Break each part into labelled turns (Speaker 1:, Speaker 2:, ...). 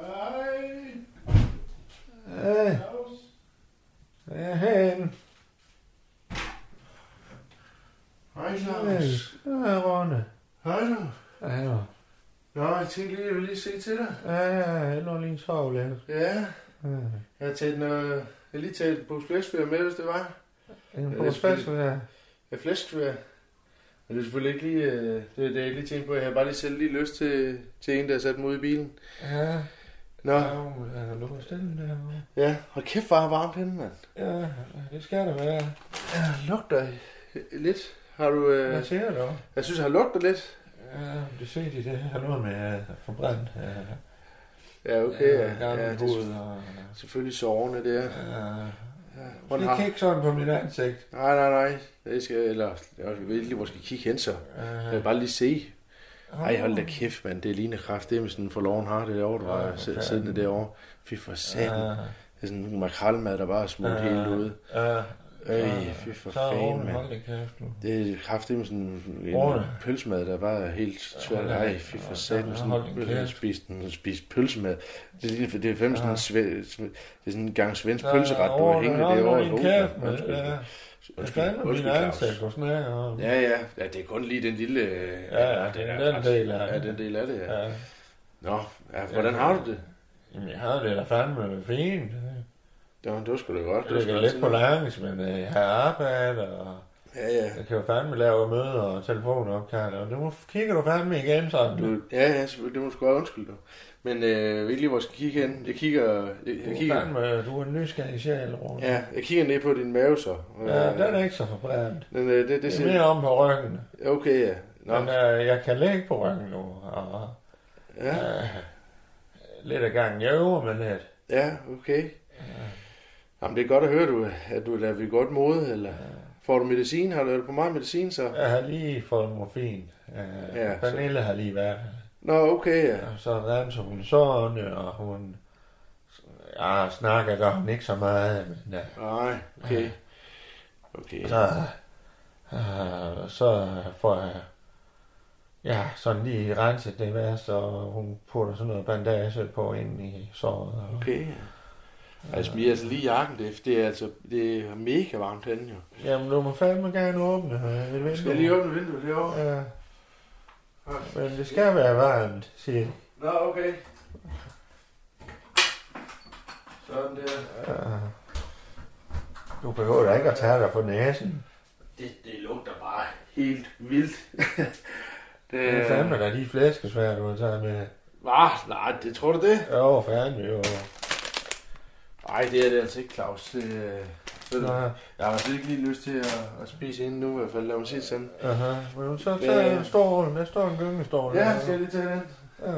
Speaker 1: Hej.
Speaker 2: Hej,
Speaker 1: Claus.
Speaker 2: jeg er herinde.
Speaker 1: Hej, Claus.
Speaker 2: Claus. Hej, Ronne.
Speaker 1: Hej, du.
Speaker 2: Hej, nå.
Speaker 1: Nå, jeg tænkte lige, jeg vil lige se til dig.
Speaker 2: Hej, jeg lå lige en sov lidt.
Speaker 1: Ja,
Speaker 2: Hej.
Speaker 1: jeg har taget en, øh, jeg har lige taget et Bruce Flæskfjær med, hvis det var.
Speaker 2: En
Speaker 1: Ja,
Speaker 2: på
Speaker 1: det er
Speaker 2: spids, ja.
Speaker 1: Ja, Flæskfjær. Men det er selvfølgelig ikke lige, øh, det, er det jeg lige tænkte på. Jeg har bare lige selv lige lyst til, til en, der satte mig ud i bilen.
Speaker 2: Ja,
Speaker 1: Nå,
Speaker 2: Au, jeg kan lukke stille derovre.
Speaker 1: ja, hold kæft, var varmt henne, mand.
Speaker 2: Ja, det skal der være.
Speaker 1: Ja, lugter lidt. Har du,
Speaker 2: Hvad
Speaker 1: øh,
Speaker 2: siger du?
Speaker 1: jeg synes, jeg har lugtet lidt.
Speaker 2: Ja, det ser de det her noget med øh, forbrændt. øh,
Speaker 1: Ja, okay,
Speaker 2: øh,
Speaker 1: ja.
Speaker 2: Gammel
Speaker 1: ja
Speaker 2: ja,
Speaker 1: det er
Speaker 2: hoved og...
Speaker 1: selvfølgelig sovende, det er.
Speaker 2: Ja.
Speaker 1: Ja,
Speaker 2: Det
Speaker 1: hvordan har-
Speaker 2: kan ikke sådan på mit ansigt.
Speaker 1: Nej, nej, nej. Jeg skal, eller, jeg ved ikke lige, hvor jeg skal kigge hen så. Jeg vil bare lige se. Ej, hold da kæft, mand. Det ligner kraft. Det er med sådan for loven har det derovre, du
Speaker 2: Ja,
Speaker 1: har
Speaker 2: for
Speaker 1: sid-
Speaker 2: fanden.
Speaker 1: siddende derovre. Fy for satan.
Speaker 2: Ja.
Speaker 1: Det er sådan en makrelmad, der bare er smurt helt ud.
Speaker 2: Ja.
Speaker 1: Øj, fy for
Speaker 2: Så er
Speaker 1: fanden,
Speaker 2: Rune,
Speaker 1: mand.
Speaker 2: Hold da kæft, du.
Speaker 1: Det er kraft, det er med sådan en
Speaker 2: Rune.
Speaker 1: pølsemad, der bare er helt svært.
Speaker 2: Ja,
Speaker 1: Ej, fy for
Speaker 2: ja,
Speaker 1: satan.
Speaker 2: ja, hold din
Speaker 1: Sådan en
Speaker 2: kæft.
Speaker 1: spist, en spist pølsemad. Det er, det er fem sådan en
Speaker 2: Ja.
Speaker 1: sve, sve- det er sådan en gang svensk pølseret, du har hængende derovre i
Speaker 2: hovedet. Kæft,
Speaker 1: hovedet.
Speaker 2: men,
Speaker 1: Undskyld,
Speaker 2: ja. Jeg
Speaker 1: undskyld,
Speaker 2: fandme min
Speaker 1: undskyld,
Speaker 2: ansigt
Speaker 1: Claus.
Speaker 2: og snakker om.
Speaker 1: Ja, ja. Ja, det er kun lige den lille... øh, altså,
Speaker 2: Ja, ja, det er den del af
Speaker 1: Ja,
Speaker 2: det.
Speaker 1: den del af det, ja.
Speaker 2: ja.
Speaker 1: Nå, ja, hvordan har du det?
Speaker 2: Jamen, jeg har det da fandme fint.
Speaker 1: Det var, det var sgu da godt.
Speaker 2: Jeg
Speaker 1: sgu da
Speaker 2: ligger lidt
Speaker 1: sådan-
Speaker 2: på langs, men øh, jeg har arbejde, og
Speaker 1: Ja, ja.
Speaker 2: jeg kan jo fandme lave møder og telefonopkald, og nu kigger du fandme igen sådan. Du,
Speaker 1: Du, ja, ja, selvfølgelig. Det må du sgu have undskyld, du. Men øh, jeg ved ikke lige, hvor jeg skal kigge hen. Jeg kigger... Jeg, jeg
Speaker 2: du, er
Speaker 1: kigger
Speaker 2: fandme, du er en nysgerrig sjæl, Rune.
Speaker 1: Ja, jeg kigger ned på din mave så. Øh,
Speaker 2: ja, den er ikke så forbrændt.
Speaker 1: Men øh, det, det
Speaker 2: Det er
Speaker 1: siger...
Speaker 2: mere om på ryggen.
Speaker 1: Okay, ja. Nå,
Speaker 2: Men øh, jeg kan ligge på ryggen nu, og
Speaker 1: ja,
Speaker 2: øh, lidt af gangen. Jeg øver mig lidt.
Speaker 1: ja, okay. Jamen, det er godt at høre, du, at du er ved godt mode, eller... Får du medicin? Har du er du på meget medicin, så?
Speaker 2: Jeg har lige fået morfin. Øh,
Speaker 1: Ja,
Speaker 2: ja, Pernille har lige været her.
Speaker 1: Nå, okay, ja.
Speaker 2: Og så renser hun sårene, og hun... Ja, snakker gør hun ikke så meget, men... Ja.
Speaker 1: Nej, okay. Okay.
Speaker 2: Så, øh, så får jeg... Ja, sådan lige renset det værste, og hun putter sådan noget bandage på ind i såret. Og,
Speaker 1: Okay. Ja. Altså, vi er altså lige i jakken, det, det er altså det er mega varmt herinde, jo.
Speaker 2: Jamen, du må fandme gerne åbne øh, et vindue.
Speaker 1: Skal jeg lige åbne vinduet derovre?
Speaker 2: Ja, men det skal være varmt, siger
Speaker 1: Nå, okay. Sådan der.
Speaker 2: ja. Øh, Du behøver da ikke at tage dig på næsen.
Speaker 1: Det, det lugter bare helt vildt. det,
Speaker 2: Det er fandme da de flæskesvær, du har taget med.
Speaker 1: Ah, nej, det tror du det?
Speaker 2: Jo, fandme jo.
Speaker 1: Nej, det er det altså ikke, Claus. Det, øh, ved du,
Speaker 2: Nå,
Speaker 1: jeg har altså ikke lige lyst til at, at spise inden nu, i hvert fald. Lad mig sige det sådan.
Speaker 2: aha. Men så
Speaker 1: Øh.
Speaker 2: tag en stol. Der står en gyngestol.
Speaker 1: Ja, skal jeg Ah. lige tage den?
Speaker 2: Ja.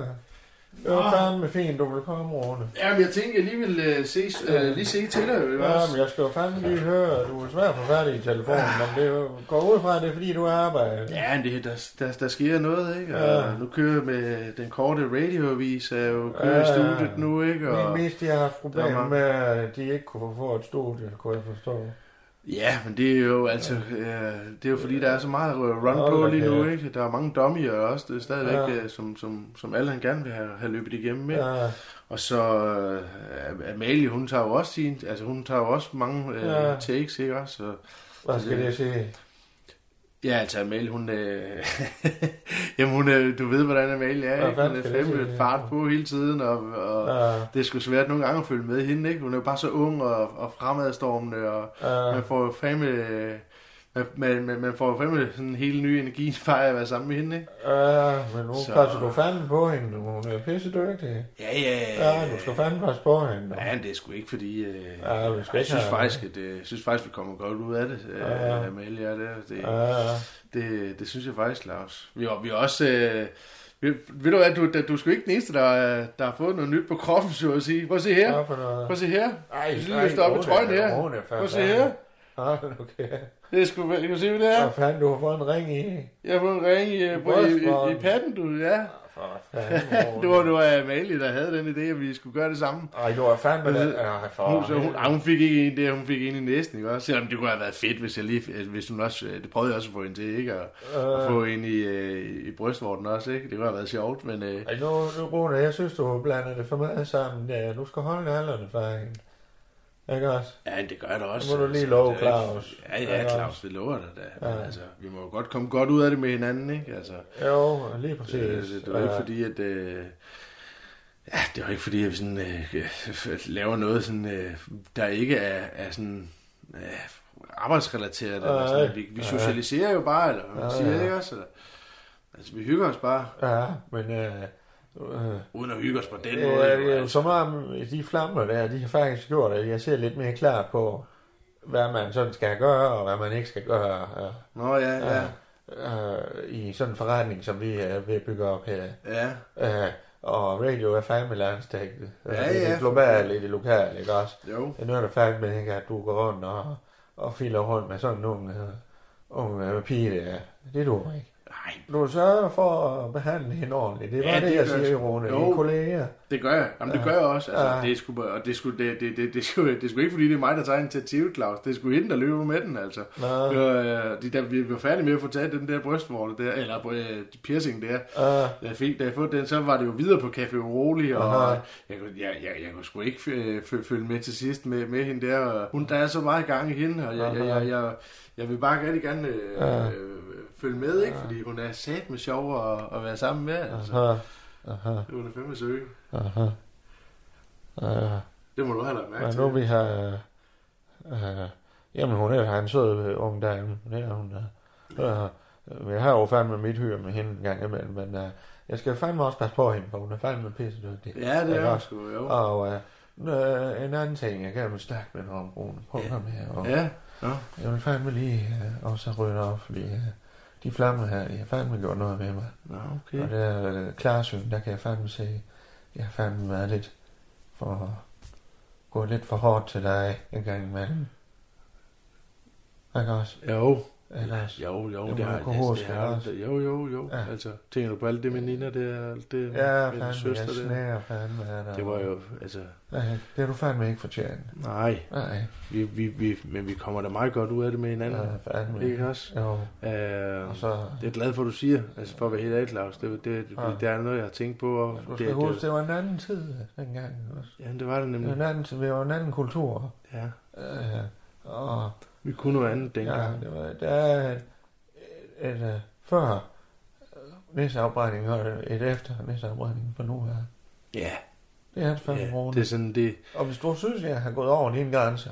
Speaker 2: Det var fandme fint, du ville komme, Rune.
Speaker 1: Jamen, jeg tænkte, jeg lige ville øh, ses, øh, lige se til dig. ikke
Speaker 2: Ja,
Speaker 1: også? Ah.
Speaker 2: men jeg skal jo fandme lige høre, at du er svært forfærdelig i telefonen, men det er jo- går ud fra, at det er fordi, du arbejder.
Speaker 1: Ja, men det, der, der, der sker noget, ikke? Og
Speaker 2: Ja.
Speaker 1: Nu kører jeg med den korte radioavis, er jo kører
Speaker 2: Ja,
Speaker 1: i
Speaker 2: ja.
Speaker 1: studiet nu, ikke?
Speaker 2: Min
Speaker 1: Og,
Speaker 2: mest, de har haft
Speaker 1: Der er
Speaker 2: problemer
Speaker 1: mange-
Speaker 2: med, at de ikke kunne få et studie, kunne jeg forstå.
Speaker 1: ja, men det er jo altså, øh, det er jo fordi, der er så meget øh, run på
Speaker 2: Hold da
Speaker 1: lige nu,
Speaker 2: kæft.
Speaker 1: ikke? Der er mange dummier også, det er stadigvæk,
Speaker 2: Ja.
Speaker 1: øh, som, som, som alle han gerne vil have, have løbet igennem, ikke?
Speaker 2: Ja,
Speaker 1: Og så øh, Amalie, hun tager jo også sin, altså hun tager jo også mange øh,
Speaker 2: Ja.
Speaker 1: takes, ikke også? Og,
Speaker 2: hvad skal det sige?
Speaker 1: Ja, altså Amalie, hun... Øh... Jamen, hun, øh, du ved, hvordan Amalie
Speaker 2: Ja,
Speaker 1: er, ikke? Hun
Speaker 2: hvad
Speaker 1: er
Speaker 2: skal jeg
Speaker 1: fandme
Speaker 2: sige?
Speaker 1: fart på hele tiden, og, og
Speaker 2: Ja,
Speaker 1: Det er sgu svært nogle gange at følge med hende, ikke? Hun er jo bare så ung og, og fremadstormende, og
Speaker 2: ja.
Speaker 1: man får jo fandme... øh, Man, man, man, man får jo fandme sådan en helt ny energi bare af at være sammen med hende, ikke?
Speaker 2: Ja, men nu
Speaker 1: Så-
Speaker 2: passer du fandme på hende. du. Hun er pissedygtig.
Speaker 1: Ja, ja,
Speaker 2: Ja, du skal fandme passe på hende.
Speaker 1: Ja, men det er sgu ikke, fordi... Øh,
Speaker 2: Ja, vi skal
Speaker 1: jeg
Speaker 2: ikke
Speaker 1: synes
Speaker 2: have-
Speaker 1: faktisk, at, øh, jeg synes faktisk, vi kommer godt ud af det, øh,
Speaker 2: Ja.
Speaker 1: Amalie og det, det,
Speaker 2: Ja,
Speaker 1: det, det synes jeg faktisk, Claus. Vi, var- vi er også... Øh, Ved, ved du hvad, du, du, du er sgu ikke den eneste, der, er- der har fået noget nyt på kroppen, så at sige. Prøv at se her.
Speaker 2: Hvad for noget?
Speaker 1: Prøv at se her.
Speaker 2: Ej,
Speaker 1: Lille løfter op i trøjen her. Prøv at se her.
Speaker 2: Hold okay.
Speaker 1: Det er sgu, kan du se, hvad det
Speaker 2: Ja.
Speaker 1: er?
Speaker 2: Hvad fanden, du har fået en ring i?
Speaker 1: Jeg har fået en ring i, øh, på, i, i, i patten, du. Ja.
Speaker 2: For fanden,
Speaker 1: Det var, det var Amalie, der havde den idé, at vi skulle gøre det samme.
Speaker 2: Ej, du har fandme den.
Speaker 1: Altså,
Speaker 2: Ej, for
Speaker 1: Hun, så hun, ej, hun fik ikke en der, hun fik en i næsten, ikke også? Selvom det kunne have været fedt, hvis, jeg lige, altså, hvis hun også, det prøvede jeg også at få en til, ikke? Og, og
Speaker 2: Øh,
Speaker 1: få en i, øh, i brystvorten også, ikke? Det kunne have været sjovt, men øh,
Speaker 2: ej, nu, nu, Rune, jeg synes, du har blandet det for meget sammen. Ja, du skal holde nallerne fra hende. Ikke også?
Speaker 1: ja, det gør jeg da også.
Speaker 2: Nu må du lige
Speaker 1: Altså,
Speaker 2: love
Speaker 1: det er ikke-
Speaker 2: Claus.
Speaker 1: Ja, ja,
Speaker 2: Ikke
Speaker 1: Claus, det lover jeg dig da. Men
Speaker 2: Ja.
Speaker 1: altså, vi må jo godt komme godt ud af det med hinanden, ikke? Altså,
Speaker 2: Jo, lige præcis.
Speaker 1: det, det, det var ikke fordi, at... Øh, ja, det var ikke fordi, at vi sådan, øh, øh, laver noget, sådan, øh, der ikke er, er sådan... Øh, arbejdsrelateret. Eller
Speaker 2: Nej.
Speaker 1: sådan. Vi, vi
Speaker 2: Nej.
Speaker 1: socialiserer jo bare, eller hvad man
Speaker 2: Ja,
Speaker 1: siger,
Speaker 2: ja.
Speaker 1: ikke også? Eller, altså, vi hygger os bare,
Speaker 2: Ja, men... Øh, øh,
Speaker 1: uden at hygge os på den
Speaker 2: øh,
Speaker 1: måde.
Speaker 2: det
Speaker 1: jo,
Speaker 2: er jo
Speaker 1: altså.
Speaker 2: så meget, øh, de flammer der, de har faktisk gjort, at jeg ser lidt mere klart på, hvad man sådan skal gøre, og hvad man ikke skal gøre. Øh,
Speaker 1: Nå, ja, ja.
Speaker 2: øh, i sådan en forretning, som vi er ved at bygge op her.
Speaker 1: Ja,
Speaker 2: Øh, og radio er fandme landstækkende. Øh,
Speaker 1: Ja,
Speaker 2: Det er
Speaker 1: ja.
Speaker 2: det globale, i det lokale, ikke også?
Speaker 1: jo.
Speaker 2: Det er der fandme ikke, at du går rundt og, og filer rundt med sådan nogle øh, unge øh, pige der. Det du ikke.
Speaker 1: Nej,
Speaker 2: Du sørger for at behandle hende ordentligt. Det var
Speaker 1: Ja,
Speaker 2: ja,
Speaker 1: det
Speaker 2: det, jeg
Speaker 1: gør
Speaker 2: siger,
Speaker 1: jeg sgu.
Speaker 2: Rune.
Speaker 1: Jo.
Speaker 2: Dine kolleger.
Speaker 1: Det gør jeg. Jamen, det gør jeg også. Altså,
Speaker 2: Ja.
Speaker 1: det er sgu, bare- og det er sgu, det, det, det, det, er sgu, det er sgu ikke, fordi det er mig, der tager initiativet, Claus. Det er sgu hende, der løber med den, altså.
Speaker 2: Nå,
Speaker 1: Ja. Øh, de der, vi var færdige med at få taget den der brystvorte der, eller øh, piercing der.
Speaker 2: øh,
Speaker 1: Da jeg, fik, da jeg fik den, så var det jo videre på Café Roli, og
Speaker 2: Aha.
Speaker 1: jeg, kunne- jeg, jeg, jeg kunne sgu ikke øh, fø- følge med til sidst med, med hende der. Og hun, der er så meget gang i hende, og jeg, jeg, jeg, jeg, jeg vil bare rigtig gerne
Speaker 2: Ja.
Speaker 1: øh, øh, følge med, ikke? Fordi hun er sat med sjov at, at være sammen med, altså.
Speaker 2: aha, aha,
Speaker 1: Hun er fandme søge.
Speaker 2: aha. Øh.
Speaker 1: Det må du have lagt mærke
Speaker 2: Men
Speaker 1: til.
Speaker 2: nu vi har... Øh, jamen, hun er en sød øh, ung dame. Det er hun. Øh, øh, jeg har jo fandme mit hyr med hende en gang imellem, men øh, jeg skal fandme også passe på hende, for hun er fandme pissedygtig.
Speaker 1: Ja, det
Speaker 2: Ikke
Speaker 1: er hun
Speaker 2: også?
Speaker 1: sgu, jo.
Speaker 2: Og øh, øh, en anden ting, jeg gerne vil snakke med dig om, Rune. Prøv at komme her. Og
Speaker 1: Ja, Nå.
Speaker 2: Jeg vil fandme lige øh, også rydde op, fordi øh, de flammer her, jeg har fandme gjort noget ved mig.
Speaker 1: Nå,
Speaker 2: Okay. Og
Speaker 1: okay.
Speaker 2: det er øh, klarsyn, der kan jeg fandme se, jeg har fandme været lidt for... gået lidt for hårdt til dig en gang imellem. Ikke også?
Speaker 1: Jo,
Speaker 2: Ellers.
Speaker 1: jo, jo,
Speaker 2: Jamen,
Speaker 1: det har
Speaker 2: du kan huske
Speaker 1: det har-
Speaker 2: også.
Speaker 1: Jo, jo, jo.
Speaker 2: Ja.
Speaker 1: Altså, tænker du på alt det med Nina, det er alt det
Speaker 2: Ja,
Speaker 1: med
Speaker 2: fandme,
Speaker 1: søster
Speaker 2: jeg
Speaker 1: der.
Speaker 2: snærer fandme af dig.
Speaker 1: Det var jo, altså,
Speaker 2: Nej, det har du fandme ikke fortjent.
Speaker 1: nej,
Speaker 2: Nej,
Speaker 1: vi, vi, vi, men vi kommer da meget godt ud af det med
Speaker 2: ja,
Speaker 1: hinanden. Ja.
Speaker 2: fandme.
Speaker 1: Ikke også?
Speaker 2: Jo,
Speaker 1: Øh,
Speaker 2: og så...
Speaker 1: det er jeg glad for, du siger, altså for at være helt ærlig, Claus. Det, det, det,
Speaker 2: Ja.
Speaker 1: det er noget, jeg har tænkt på. Og
Speaker 2: Du
Speaker 1: det,
Speaker 2: skal huske,
Speaker 1: det,
Speaker 2: det var en anden tid dengang. også.
Speaker 1: ja, det var det
Speaker 2: Det var en
Speaker 1: nemlig.
Speaker 2: anden, tid, vi var en anden kultur.
Speaker 1: Ja.
Speaker 2: Øh, og
Speaker 1: Vi kunne noget andet
Speaker 2: Ja,
Speaker 1: dengang.
Speaker 2: det var, der er et, et, et, øh, før næseafbrænding og et efter næseafbrænding for nu her.
Speaker 1: Ja,
Speaker 2: Det er fandme
Speaker 1: ja,
Speaker 2: ja,
Speaker 1: det er sådan, det,
Speaker 2: Og hvis du synes, jeg har gået over dine grænser,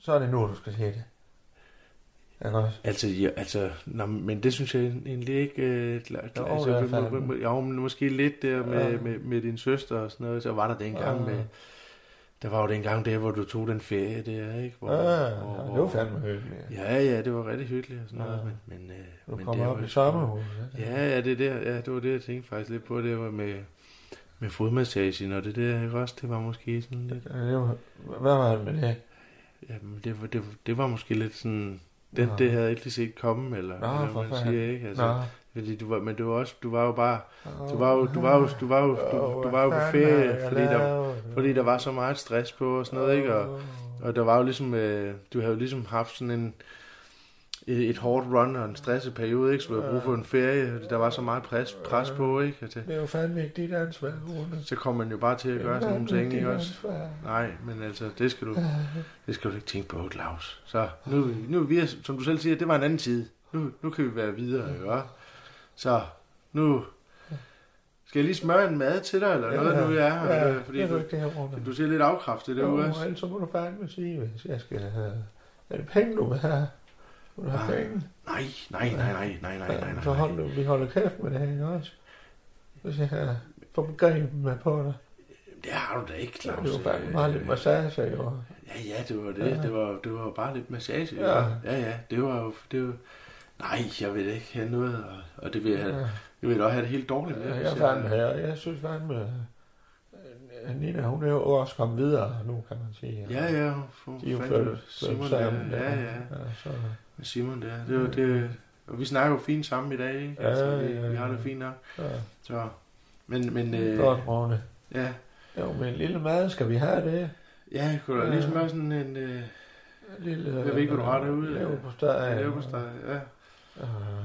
Speaker 2: så er det nu, du skal se det. Ikke også?
Speaker 1: Altså, ja, altså, nå, men det synes jeg egentlig ikke... Øh, klar,
Speaker 2: Jo,
Speaker 1: klar, altså,
Speaker 2: det er
Speaker 1: må-
Speaker 2: fandme.
Speaker 1: må- jo, men måske lidt der med,
Speaker 2: Ja.
Speaker 1: ja. med, med din søster og sådan noget. Så var der dengang
Speaker 2: Ja.
Speaker 1: med... Der var jo dengang der, hvor du tog den ferie der, ikke? Hvor,
Speaker 2: Ja, ja, det var fandme hyggeligt.
Speaker 1: Ja, ja, det var rigtig hyggeligt og sådan
Speaker 2: Ja.
Speaker 1: noget. Men, men, øh,
Speaker 2: Du
Speaker 1: men
Speaker 2: kommer
Speaker 1: der
Speaker 2: op
Speaker 1: var-
Speaker 2: i sommerhuset. ikke?
Speaker 1: Ja, ja, det er der. Ja, det var det, jeg tænkte faktisk lidt på. Det var med, med fodmassagen og det der, ikke også? Det var måske sådan lidt...
Speaker 2: Det var, hvad var det med det?
Speaker 1: Jamen, det, var- det, var- det var måske lidt sådan... Den,
Speaker 2: Nå.
Speaker 1: det havde jeg ikke lige set komme, eller
Speaker 2: Nå,
Speaker 1: eller
Speaker 2: for
Speaker 1: hvad man
Speaker 2: fanden.
Speaker 1: siger, ikke? Altså,
Speaker 2: Nå.
Speaker 1: Fordi du var, men du var også, du var jo bare,
Speaker 2: Åh,
Speaker 1: altså, du var jo, du var jo, du var jo, du, du var jo på
Speaker 2: fanden har
Speaker 1: ferie,
Speaker 2: jeg
Speaker 1: fordi der,
Speaker 2: lavet?
Speaker 1: fordi der var så meget stress på og sådan noget, ikke? Og, og der var jo ligesom, øh, du havde jo ligesom haft sådan en, et et hårdt run og en stresset periode, ikke? Så du havde brug for en ferie, fordi der var så meget pres, pres på, ikke? Og det,
Speaker 2: Det er jo fandme ikke dit ansvar, Rune.
Speaker 1: så kom man jo bare til at gøre sådan nogle ting, ikke også?
Speaker 2: Nej.
Speaker 1: Nej, men altså, det skal du, det skal du ikke tænke på, Claus. Så nu, er vi- nu er vi, som du selv siger, det var en anden tid. Nu, nu kan vi være videre, ikke? også? Så nu... Skal jeg lige smøre en mad til dig, eller noget, nu jeg er her?
Speaker 2: Ja,
Speaker 1: Øh, fordi
Speaker 2: det er jo
Speaker 1: du,
Speaker 2: ikke det her, Rune.
Speaker 1: du ser lidt afkræftet
Speaker 2: Jo,
Speaker 1: derude også.
Speaker 2: ellers så må du fandme sige, hvis jeg skal have... Er det penge, du vil have? Vil du have
Speaker 1: Ah, Nej,
Speaker 2: penge?
Speaker 1: Nej, nej, nej, nej, nej, nej, nej,
Speaker 2: Ja, Så
Speaker 1: nej.
Speaker 2: hold nu, vi holder kæft med det her, ikke også? Hvis jeg har får begrebet med på dig.
Speaker 1: Det har du da ikke,
Speaker 2: Det
Speaker 1: Claus.
Speaker 2: er jo fandme
Speaker 1: Øh,
Speaker 2: meget lidt massage, jo.
Speaker 1: Ja, ja, det var det. Det var, det var bare lidt massage.
Speaker 2: Ja.
Speaker 1: Ja, ja, det var jo... Det var, Nej, jeg vil ikke have noget, og, og det vil jeg, jeg vil da også have det helt dårligt med.
Speaker 2: Ja,
Speaker 1: hvis
Speaker 2: jeg fandme her. Jeg synes fandme, øh, Nina, hun er jo også kommet videre nu, kan man sige.
Speaker 1: Ja, ja, for
Speaker 2: De er jo
Speaker 1: fandme
Speaker 2: flyttet
Speaker 1: Simon
Speaker 2: flyttet sammen.
Speaker 1: der. Ja, ja,
Speaker 2: ja så,
Speaker 1: med Simon der. Det, var, det, og vi snakker jo fint sammen i dag, ikke? Altså,
Speaker 2: Ja,
Speaker 1: vi,
Speaker 2: ja,
Speaker 1: vi har
Speaker 2: ja.
Speaker 1: det fint nok.
Speaker 2: så.
Speaker 1: Så, men, men, øh,
Speaker 2: Godt, Rune.
Speaker 1: ja,
Speaker 2: Jo, men en lille mad, skal vi have det?
Speaker 1: ja, jeg kunne da lige
Speaker 2: Ja.
Speaker 1: smøre sådan en, øh,
Speaker 2: En Lille,
Speaker 1: Jeg ved ikke, hvad du har derude.
Speaker 2: Lever på stedet.
Speaker 1: ja. ja.
Speaker 2: Øh,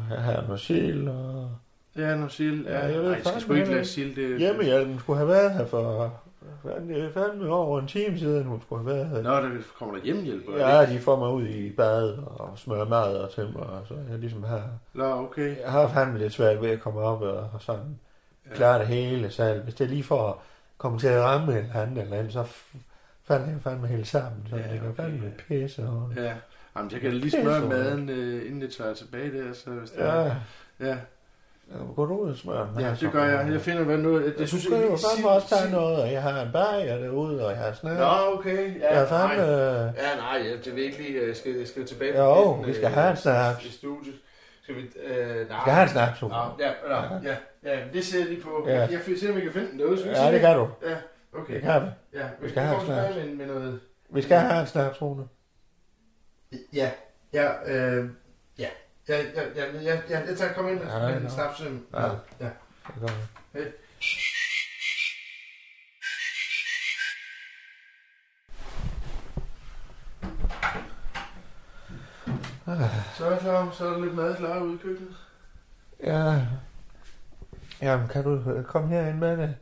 Speaker 2: Jeg har noget sild, og...
Speaker 1: Ja, noget sild. Ja,
Speaker 2: Ja, jeg ved
Speaker 1: Ej, jeg skal
Speaker 2: fandme
Speaker 1: sgu ikke
Speaker 2: heller
Speaker 1: lade
Speaker 2: ikke.
Speaker 1: sild. Det,
Speaker 2: Hjemmehjælpen skulle have været her for... Fandme, det er fandme over en time siden, hun skulle have været her.
Speaker 1: Nå, der kommer der hjemmehjælp. eller
Speaker 2: Ja,
Speaker 1: ikke?
Speaker 2: de får mig ud i bad og smører mad og til mig, og så er jeg ligesom her.
Speaker 1: Nå, okay.
Speaker 2: Jeg har fandme lidt svært ved at komme op og, og sådan
Speaker 1: Ja.
Speaker 2: ja. klare det hele selv. Hvis det lige får komme til at ramme en anden eller anden, så f- falder jeg fandme helt sammen. Så
Speaker 1: Ja,
Speaker 2: ja, det kan
Speaker 1: okay,
Speaker 2: fandme
Speaker 1: ja.
Speaker 2: pisse. Og...
Speaker 1: Ja. Jamen, jeg kan da lige
Speaker 2: Det er
Speaker 1: smøre
Speaker 2: så-
Speaker 1: maden, øh, inden det tørrer tilbage der. Så hvis det
Speaker 2: Ja,
Speaker 1: er- ja.
Speaker 2: jeg går du ud og smører den
Speaker 1: ja,
Speaker 2: her,
Speaker 1: det gør jeg. Jeg finder, hvad nu... Jeg,
Speaker 2: jeg synes,
Speaker 1: synes,
Speaker 2: du kan
Speaker 1: jeg,
Speaker 2: jo fandme også tage noget, og jeg har en bager derude, og jeg har snart.
Speaker 1: Nå, okay. Ja,
Speaker 2: jeg har
Speaker 1: nej.
Speaker 2: fandme...
Speaker 1: Ja, nej, ja, det er virkelig... Jeg øh, skal, jeg skal tilbage
Speaker 2: Jo,
Speaker 1: den,
Speaker 2: vi skal
Speaker 1: øh,
Speaker 2: have en snaps.
Speaker 1: I studiet. Skal vi... Øh, nej.
Speaker 2: Vi skal have en snak, Sofie.
Speaker 1: Nå, Ja, ja, ja, ja, men det ser jeg lige på.
Speaker 2: Ja.
Speaker 1: Ja. Jeg finder, om vi kan finde den derude. Skal vi
Speaker 2: Ja,
Speaker 1: sige
Speaker 2: det kan du.
Speaker 1: Ja,
Speaker 2: Det
Speaker 1: okay.
Speaker 2: kan vi.
Speaker 1: Ja,
Speaker 2: Vi skal have en snaps.
Speaker 1: Med, med noget...
Speaker 2: Vi skal have en snak, Rune.
Speaker 1: Ja, ja, øh, ja. Ja, ja, ja, ja, ja, jeg tager, kom ind og
Speaker 2: Ja,
Speaker 1: ja, en
Speaker 2: nå.
Speaker 1: snaps. øh,
Speaker 2: Ja.
Speaker 1: ja.
Speaker 2: Det gør vi.
Speaker 1: Hey. Så er jeg klar, så er der lidt mad klar ude i køkkenet.
Speaker 2: Ja. Jamen, kan du øh, komme herind med det?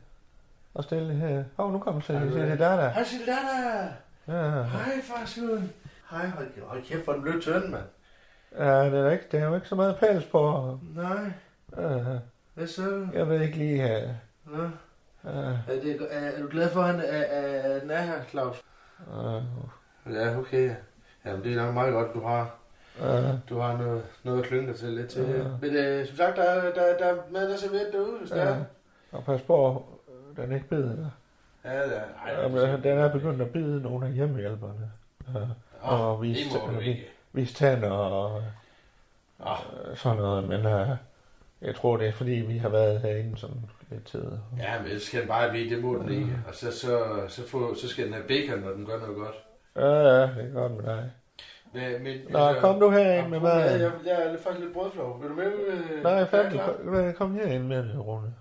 Speaker 2: Og stille her. Åh, oh, nu kommer
Speaker 1: Ja,
Speaker 2: Silje.
Speaker 1: det
Speaker 2: Se,
Speaker 1: er
Speaker 2: det er der, der.
Speaker 1: Hej Sildana!
Speaker 2: Ja.
Speaker 1: Hej farsuden! Hej, hold, kæft- hold kæft, hvor den blev tynd, mand.
Speaker 2: ja, det er, der ikke, det er jo ikke så meget pels på.
Speaker 1: Nej,
Speaker 2: Uh,
Speaker 1: hvad så?
Speaker 2: jeg ved ikke lige... Uh,
Speaker 1: Nå.
Speaker 2: uh,
Speaker 1: Er, det, er, er du glad for, at han er, er, er, den er her, Claus?
Speaker 2: uh,
Speaker 1: Ja, okay. Jamen, det er nok meget godt, du har
Speaker 2: uh,
Speaker 1: Du har noget, noget at klynge dig til lidt til.
Speaker 2: Ja.
Speaker 1: Ja. Men øh, som sagt, der, er- der, der er mad, der er serveret derude, hvis der
Speaker 2: uh,
Speaker 1: er.
Speaker 2: og pas på, øh, den ikke bider dig.
Speaker 1: Ja, der er. Ej,
Speaker 2: Jamen, øh, den er begyndt at bide nogle af hjemmehjælperne. Uh,
Speaker 1: Åh,
Speaker 2: og vise,
Speaker 1: det må du
Speaker 2: øh,
Speaker 1: ikke.
Speaker 2: vise tænder og
Speaker 1: Åh,
Speaker 2: uh, sådan noget. Men uh, jeg tror, det er fordi, vi har været herinde sådan lidt tid.
Speaker 1: ja, men så skal den bare vide, det må den ikke. Og så, så, så, få, så skal den have bacon, når den gør noget godt.
Speaker 2: Ja, ja, det er godt med dig.
Speaker 1: Men, men, altså,
Speaker 2: Nå, kom du herind med
Speaker 1: apropos
Speaker 2: maden.
Speaker 1: Jeg, jeg er lidt- faktisk lidt brødflov. Vil du med? Øh,
Speaker 2: Nej, fandme,
Speaker 1: Ja,
Speaker 2: kom- nej, kom herind med det, Rune.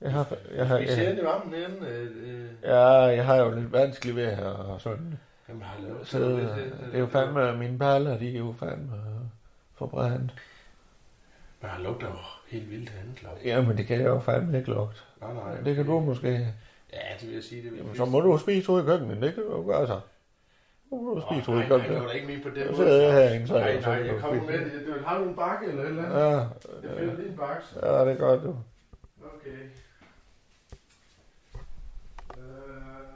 Speaker 2: Jeg har, jeg, har,
Speaker 1: klar. Vi ser
Speaker 2: jeg,
Speaker 1: ind i varmen herinde. Øh, øh.
Speaker 2: ja, jeg har jo lidt vanskeligt ved her og sådan.
Speaker 1: Jamen, har lavet
Speaker 2: Så øh, det er jo fandme, mine perler, de er jo fandme øh, forbrændt.
Speaker 1: Men han lugter jo helt vildt herinde, Claus.
Speaker 2: Jamen, det kan jeg jo fandme ikke lugte.
Speaker 1: Nej, nej.
Speaker 2: Det kan du måske.
Speaker 1: Ja, det vil jeg sige. Det vil
Speaker 2: Jamen,
Speaker 1: jeg
Speaker 2: så
Speaker 1: sige.
Speaker 2: må du jo spise ude i køkkenet, det kan du jo gøre så. Så må du jo spise
Speaker 1: Åh,
Speaker 2: ude i
Speaker 1: nej, nej, jeg var
Speaker 2: køkkenet.
Speaker 1: da ikke med på den
Speaker 2: Så
Speaker 1: måde.
Speaker 2: sidder jeg herinde, så
Speaker 1: Nej,
Speaker 2: jeg- så
Speaker 1: nej,
Speaker 2: kan
Speaker 1: jeg
Speaker 2: du
Speaker 1: kommer
Speaker 2: spise.
Speaker 1: med det. Du har du en bakke eller et eller andet?
Speaker 2: Ja,
Speaker 1: Jeg finder lige en bakke. så-
Speaker 2: ja, det er godt, du.
Speaker 1: Okay. Øh. Øh.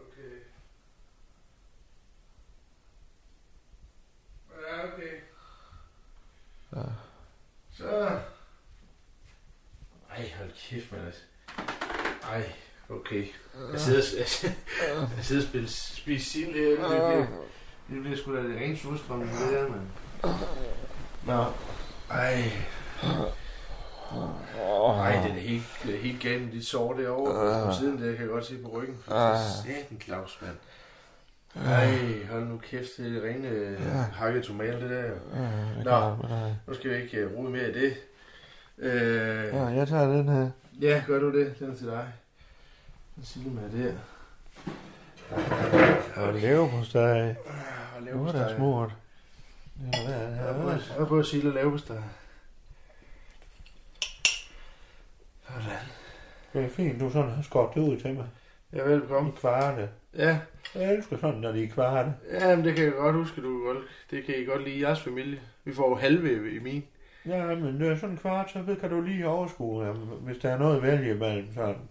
Speaker 1: Okay. Ja, okay.
Speaker 2: Ja.
Speaker 1: Så. Ej, hold kæft, man. altså. Ej, okay. Jeg sidder, jeg, jeg sidder og spiller, spiser sild her. Det bliver, det bliver sgu da det rene surstrømme, det der, mand. Nå. Ej. Ej, den er helt, den er helt gal med dit sår derovre. På siden der kan jeg godt se på ryggen. For satan, Claus, mand. Ej, hold nu kæft, det er det rene øh, hakket tomater, det der. jo.
Speaker 2: Ja, det
Speaker 1: Nå.
Speaker 2: er godt med dig.
Speaker 1: Nu skal vi ikke øh, rode mere i det. Øh,
Speaker 2: Ja, jeg tager den her.
Speaker 1: Ja, gør du det? Den er til dig. Så sig mig der.
Speaker 2: Og leverpostej.
Speaker 1: Ah,
Speaker 2: Nu er der
Speaker 1: leverpostej.
Speaker 2: smurt. Ja, hvad er det?
Speaker 1: Jeg
Speaker 2: her?
Speaker 1: er på- jeg er på at sige lidt leverpostej. Sådan.
Speaker 2: Det er fint, du sådan har skåret det ud til mig.
Speaker 1: Ja, velkommen.
Speaker 2: I kvarte.
Speaker 1: Ja,
Speaker 2: Jeg elsker sådan, når de er kvarte.
Speaker 1: ja men det kan jeg godt huske, du godt. Det kan I godt lide i jeres familie. Vi får jo halve i min.
Speaker 2: Ja, men det er sådan en kvart, så ved- kan du lige overskue, jamen, hvis der er noget at vælge imellem. Sådan.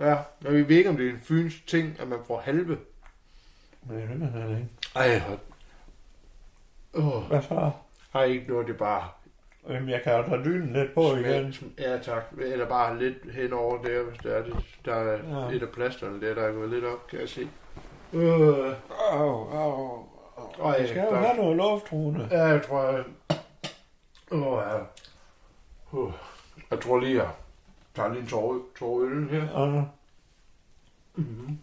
Speaker 1: Ja, men vi ved ikke, om det er en fyns ting, at man får halve.
Speaker 2: Men jeg synes, det ikke.
Speaker 1: Ej, hvor... Åh,
Speaker 2: Hvad så?
Speaker 1: ej, ikke noget, det er bare
Speaker 2: Jamen, jeg kan jo tage dynen lidt på igen.
Speaker 1: Ja, tak. Eller bare lidt hen over der, hvis der er, det. Der er
Speaker 2: Ja.
Speaker 1: ja. et af plasterne der, der er gået lidt op, kan jeg se. Øh,
Speaker 2: Au, au, au.
Speaker 1: Ej,
Speaker 2: Jeg skal jo
Speaker 1: der-
Speaker 2: have noget luft, Rune.
Speaker 1: ja, jeg tror, jeg... Åh, ja. Uh, jeg tror lige, jeg tager lige en tår, tår øl her.
Speaker 2: Ja.
Speaker 1: Mm-hmm.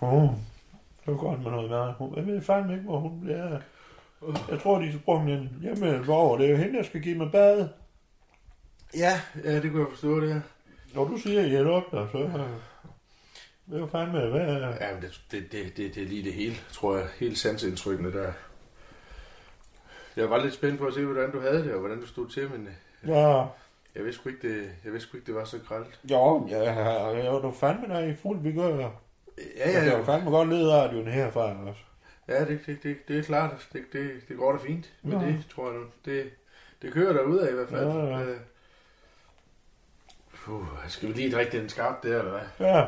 Speaker 2: Oh, det var godt med noget mad. Hun- Jeg ved fandme ikke, hvor hun bliver af. Jeg tror, de sprang en hjemmehjælp over. Det er jo hende, der skal give mig bad.
Speaker 1: Ja, ja, det kunne jeg forstå, det her.
Speaker 2: Når du siger, at jeg lugter, så... øh, Det er jo fandme hvad...
Speaker 1: Ja, men det, det, det, det, det er lige det hele, tror jeg. Helt sansindtrykkende der. Jeg var lidt spændt på at se, hvordan du havde det, og hvordan du stod til, men øh,
Speaker 2: Ja,
Speaker 1: jeg vidste sgu ikke, det, jeg vidste sgu ikke, det var så grældt.
Speaker 2: jo, ja, ja, ja, du er fandme der i fuld vigør.
Speaker 1: Ja,
Speaker 2: Jeg
Speaker 1: ja,
Speaker 2: kan jo
Speaker 1: ja.
Speaker 2: fandme godt lede radioen herfra også.
Speaker 1: Ja, det, det, det, det er klart. Det, det, det går da fint med
Speaker 2: Ja.
Speaker 1: det, tror jeg nu. Det, det kører derude af i hvert fald.
Speaker 2: Ja, ja.
Speaker 1: Øh, Puh, skal vi lige drikke den skarpt der, eller hvad?
Speaker 2: Ja,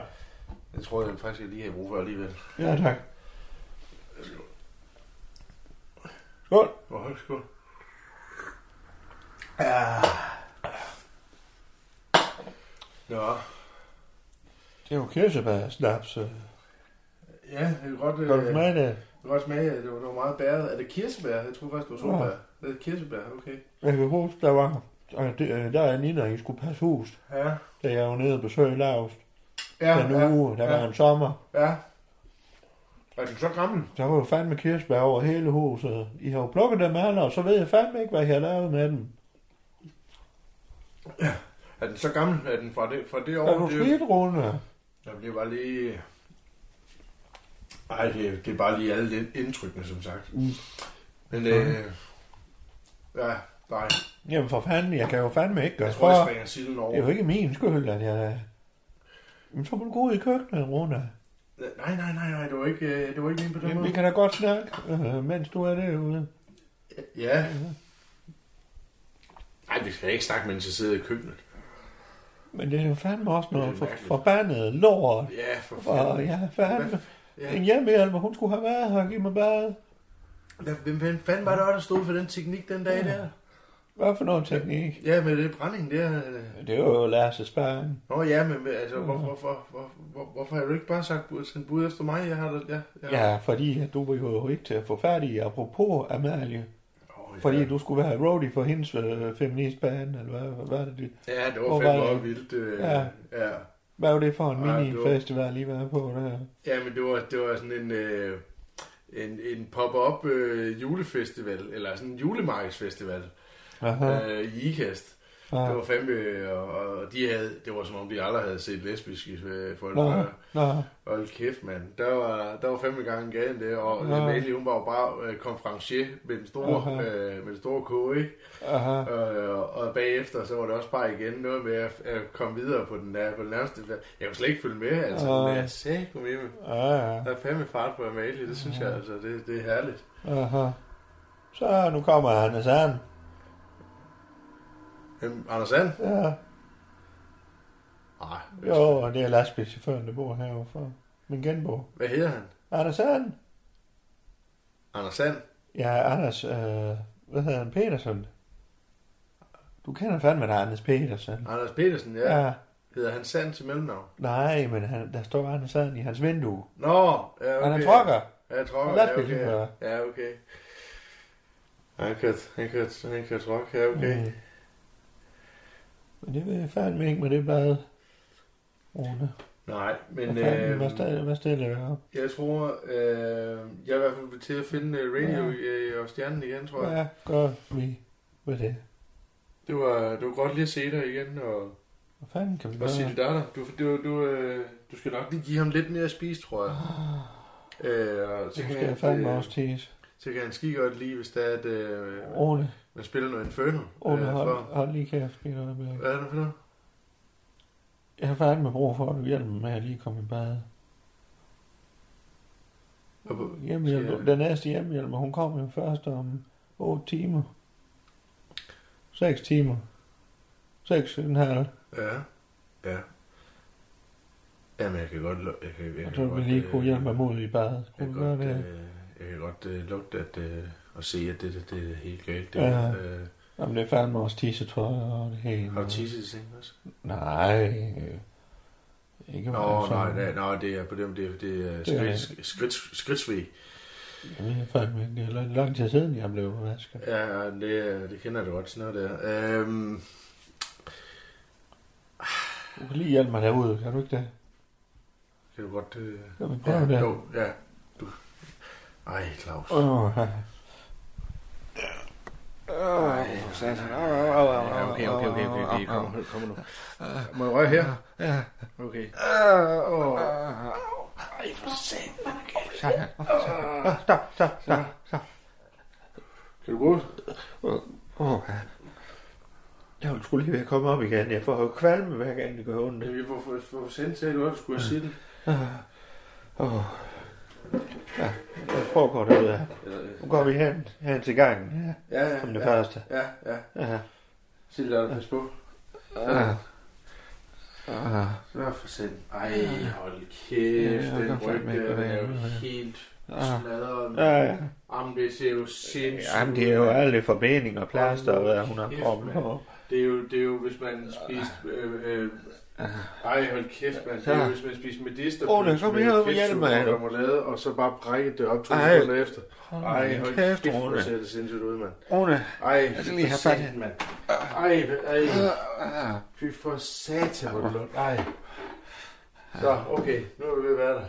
Speaker 1: Jeg tror jeg faktisk, jeg lige har brug for alligevel.
Speaker 2: ja tak. Skål.
Speaker 1: Hvor højt skål. Ja. Nå,
Speaker 2: Det er jo kirsebærsnaps. øh.
Speaker 1: ja, det er godt...
Speaker 2: Kan du
Speaker 1: øh,
Speaker 2: smage det?
Speaker 1: Det var smage, det var, det var meget bæret. Er det kirsebær? Jeg tror faktisk, det var
Speaker 2: Nå.
Speaker 1: solbær. Det er kirsebær, okay.
Speaker 2: Jeg kan huske, der var... og det- øh, Der er Nina, I skulle passe hus.
Speaker 1: Ja.
Speaker 2: da jeg var nede og besøgte Laust
Speaker 1: Ja,
Speaker 2: ja, den uge, der
Speaker 1: ja,
Speaker 2: ja. var en sommer.
Speaker 1: ja. Er den så gammel?
Speaker 2: Der var jo fandme kirsebær over hele huset. I har jo plukket dem alle, og så ved jeg fandme ikke, hvad jeg har lavet med dem.
Speaker 1: Er den så gammel? Er den fra det, fra det år?
Speaker 2: Der er du
Speaker 1: det,
Speaker 2: skidt, Rune.
Speaker 1: Jamen, det var lige... Ej, det, det er bare lige alle ind- indtrykkene, som sagt.
Speaker 2: Mm.
Speaker 1: Men øh, Ja, nej.
Speaker 2: Jamen for fanden, jeg kan jo fandme ikke gøre
Speaker 1: Jeg tror, jeg
Speaker 2: for.
Speaker 1: springer siden
Speaker 2: Det er jo
Speaker 1: over.
Speaker 2: ikke min skyld, at jeg... Men så må du gå ud i køkkenet, Rune.
Speaker 1: Nej, nej, nej, nej, det var ikke, øh, det var ikke lige på den
Speaker 2: Jamen,
Speaker 1: måde.
Speaker 2: vi kan da godt snakke, øh, mens du er derude.
Speaker 1: Ja.
Speaker 2: Mhm.
Speaker 1: Nej, vi skal ikke snakke, mens jeg sidder i køkkenet.
Speaker 2: Men det er jo fandme også
Speaker 1: Det
Speaker 2: noget
Speaker 1: er
Speaker 2: for,
Speaker 1: mærkeligt.
Speaker 2: forbandet lort.
Speaker 1: Ja, for
Speaker 2: Og
Speaker 1: fanden.
Speaker 2: jeg er fandme...
Speaker 1: Ja.
Speaker 2: En hjemmehjælper, hun skulle have været her og give mig bad.
Speaker 1: Hvad, hvem fanden- fanden var det også, der stod for den teknik den dag der?
Speaker 2: Hvad for noget teknik?
Speaker 1: Ja, med det brænding der. øh.
Speaker 2: Det var jo Lasse Spang.
Speaker 1: Nå ja, men men altså, hvor, hvorfor, hvor, hvor, hvorfor har du ikke bare sagt, bud- sendt bud efter mig? Jeg har da, ja,
Speaker 2: Ja, fordi at du var jo ikke til at få færdig, apropos Amalie.
Speaker 1: Nå,
Speaker 2: Fordi
Speaker 1: ja.
Speaker 2: du skulle være roadie for hendes øh, feministband, eller hvad, hvad, er det, det-
Speaker 1: Ja, det
Speaker 2: Hvor
Speaker 1: var
Speaker 2: var
Speaker 1: fandme
Speaker 2: det?
Speaker 1: også vildt. Øh,
Speaker 2: Ja.
Speaker 1: ja. ja.
Speaker 2: hvad var det for en
Speaker 1: Ej,
Speaker 2: mini-festival, lige var på der?
Speaker 1: Ja, men det var, det var sådan en, øh, en, en pop-up øh, julefestival, eller sådan en julemarkedsfestival
Speaker 2: Aha,
Speaker 1: ja. øh, i Ikast.
Speaker 2: ja.
Speaker 1: Det var fandme, øh, og, og de havde, det var som om de aldrig havde set lesbiske øh, folk
Speaker 2: Nå,
Speaker 1: før.
Speaker 2: nå,
Speaker 1: Hold kæft, mand. Der var, der var fandme gang i gaden det, og
Speaker 2: Ja.
Speaker 1: ja. Amalie, hun var jo bare øh, konferencier med den store,
Speaker 2: Aha.
Speaker 1: øh, med den store koge, ikke?
Speaker 2: aha,
Speaker 1: Og, og bagefter, så var det også bare igen noget med at, at komme videre på den, der, på den nærmeste. Jeg kunne slet ikke følge med, altså.
Speaker 2: Ja.
Speaker 1: Ja. Men jeg sagde, kom med.
Speaker 2: aha,
Speaker 1: Der er fandme fart på Amalie, det synes jeg, altså, det, det er herligt.
Speaker 2: aha. Så nu kommer Hannes Sand.
Speaker 1: Øhm, Anders Sand?
Speaker 2: Ja,
Speaker 1: Nej.
Speaker 2: jo, og det er lastbilchaufføren, der bor herovre for min genbo.
Speaker 1: Hvad hedder han?
Speaker 2: Anders Sand?
Speaker 1: Anders Sand?
Speaker 2: Ja, Anders, øh, hvad hedder han, Petersen? Du kender fandme dig, Anders Petersen.
Speaker 1: Anders Petersen, ja. ja.
Speaker 2: Ja.
Speaker 1: Hedder han Sand til mellemnavn?
Speaker 2: Nej, men han, der står Anders Sand i hans vindue.
Speaker 1: Nå, ja, okay.
Speaker 2: Okay. Han er trokker.
Speaker 1: Ja, trokker,
Speaker 2: Han er
Speaker 1: ja, okay.
Speaker 2: lastbilchauffør.
Speaker 1: Ja, okay. Han kørte, han kørte, han kørte rock, ja, okay.
Speaker 2: Mm. Men det vil jeg fandme ikke med det blad. Rune.
Speaker 1: Nej, men
Speaker 2: Men, hvad, fanden,
Speaker 1: øh,
Speaker 2: øh, hvad, stiller, hvad stiller jeg op?
Speaker 1: jeg tror, øh, jeg er i hvert fald til at finde øh, radio
Speaker 2: Ja.
Speaker 1: ja. øh, og stjernen igen, tror jeg. Ja.
Speaker 2: Hvad gør vi ved det?
Speaker 1: Det, var, det var godt lige at se dig igen, og,
Speaker 2: Hvad fanden kan vi
Speaker 1: og sige
Speaker 2: gøre?
Speaker 1: det der. Du, du, du, øh, du skal nok lige give ham lidt mere at spise, tror jeg. Øh, og
Speaker 2: Så Ah. skal jeg fandme også tisse.
Speaker 1: øh, så kan han skide godt lide, hvis det er, at øh,
Speaker 2: Rune,
Speaker 1: man spiller noget Inferno. øh,
Speaker 2: Rune hold,
Speaker 1: for,
Speaker 2: hold lige kæft. lige et øjeblik.
Speaker 1: hvad er det for noget?
Speaker 2: Jeg har fandme brug for, at du hjælper mig med at lige komme i bad.
Speaker 1: Og på-
Speaker 2: Hjemmehjælper, Øh, den næste hjemmehjælper, hun kommer jo først om 8 timer. 6 timer. 6 en halv.
Speaker 1: Ja, ja. Jamen, jeg kan godt... lu- Jeg kan, jeg
Speaker 2: Jeg
Speaker 1: kan
Speaker 2: tror, vi
Speaker 1: godt,
Speaker 2: lige kunne
Speaker 1: øh,
Speaker 2: hjælpe mig ud i badet.
Speaker 1: Jeg
Speaker 2: Kunne
Speaker 1: kan
Speaker 2: du gøre
Speaker 1: godt,
Speaker 2: det?
Speaker 1: øh, jeg kan godt øh, lugte at, øh, og se, at det, det, det er helt galt. Det,
Speaker 2: Ja.
Speaker 1: øh,
Speaker 2: Jamen, det er fandme også tissetøj og det hele.
Speaker 1: Har du tisset i sengen også?
Speaker 2: Nej. øh, Ikke
Speaker 1: Nå,
Speaker 2: meget
Speaker 1: nej, nej,
Speaker 2: sådan.
Speaker 1: nej, det er på dem, det er, det er
Speaker 2: altså. Det er-
Speaker 1: skridt, skridt, skridt, skridtsvig.
Speaker 2: Jeg ved fandme ikke. Det er lang- lang tid siden, jeg blev vasket.
Speaker 1: Ja, ja, det, er- det kender jeg da godt, sådan noget der. Øhm,
Speaker 2: Du kan lige hjælpe mig derude, kan du ikke det?
Speaker 1: kan du godt... Øh,
Speaker 2: Jeg vil prøve
Speaker 1: ja,
Speaker 2: ja, det.
Speaker 1: jo, ja. Du. Ej, Claus.
Speaker 2: Åh, ja.
Speaker 1: Ej, for satan. Åh, åh, åh, åh, Ja, okay, okay, okay, okay, okay. Kom, kom nu. Øh, Må jeg røre her?
Speaker 2: Ja.
Speaker 1: Okay.
Speaker 2: Åh,
Speaker 1: Ah, Åh,
Speaker 2: åh, åh.
Speaker 1: Ej, for satan, man
Speaker 2: Ja, ja. Åh, Stop, stop, stop, stop.
Speaker 1: Kan du gå?
Speaker 2: Åh, ja. Jeg ville sgu lige ved at komme op igen. Jeg får jo kvalme hver gang, det gør ondt.
Speaker 1: Ja, vi får, får, får sendt til, du skulle jeg sige det?
Speaker 2: Åh. Ja, hvad foregår derude her?
Speaker 1: Eller, øh,
Speaker 2: Nu går vi hen, hen til gangen. Ja,
Speaker 1: Ja, ja,
Speaker 2: som det
Speaker 1: ja,
Speaker 2: første.
Speaker 1: ja, ja.
Speaker 2: Ja.
Speaker 1: Sig det der, pas på.
Speaker 2: Ja. Ja.
Speaker 1: Nå, for satan. Ej, hold kæft,
Speaker 2: Ja, jeg
Speaker 1: den
Speaker 2: kan
Speaker 1: ryg
Speaker 2: fandme ikke,
Speaker 1: der, den
Speaker 2: hvad
Speaker 1: er
Speaker 2: det
Speaker 1: jo
Speaker 2: er.
Speaker 1: helt
Speaker 2: Ja.
Speaker 1: sladret.
Speaker 2: Ja, ja.
Speaker 1: Jamen, det ser jo sindssygt.
Speaker 2: Jamen, det er jo alle det forbinding og plaster, og hvad hun har
Speaker 1: Kæft,
Speaker 2: proppet
Speaker 1: mand.
Speaker 2: på.
Speaker 1: Det er jo, det er jo hvis man spiste... Øh, øh, ej, hold kæft, mand. Det er jo, hvis man spiste medister.
Speaker 2: Åh, der kom
Speaker 1: med
Speaker 2: her og
Speaker 1: ketchup
Speaker 2: hjælp mig.
Speaker 1: og remoulade, og så bare brækkede det op to
Speaker 2: Ej.
Speaker 1: sekunder efter. Ej, hold kæft,
Speaker 2: kæft,
Speaker 1: hvor
Speaker 2: Rune.
Speaker 1: ser det sindssygt ud, mand.
Speaker 2: Rune.
Speaker 1: Ej,
Speaker 2: Jeg
Speaker 1: fy
Speaker 2: skal lige
Speaker 1: for
Speaker 2: have fat i-
Speaker 1: satan, mand. Ej, ej,
Speaker 2: Ah,
Speaker 1: fy for satan, hvor er det lort. Ej. Så, okay, nu er vi ved at være der.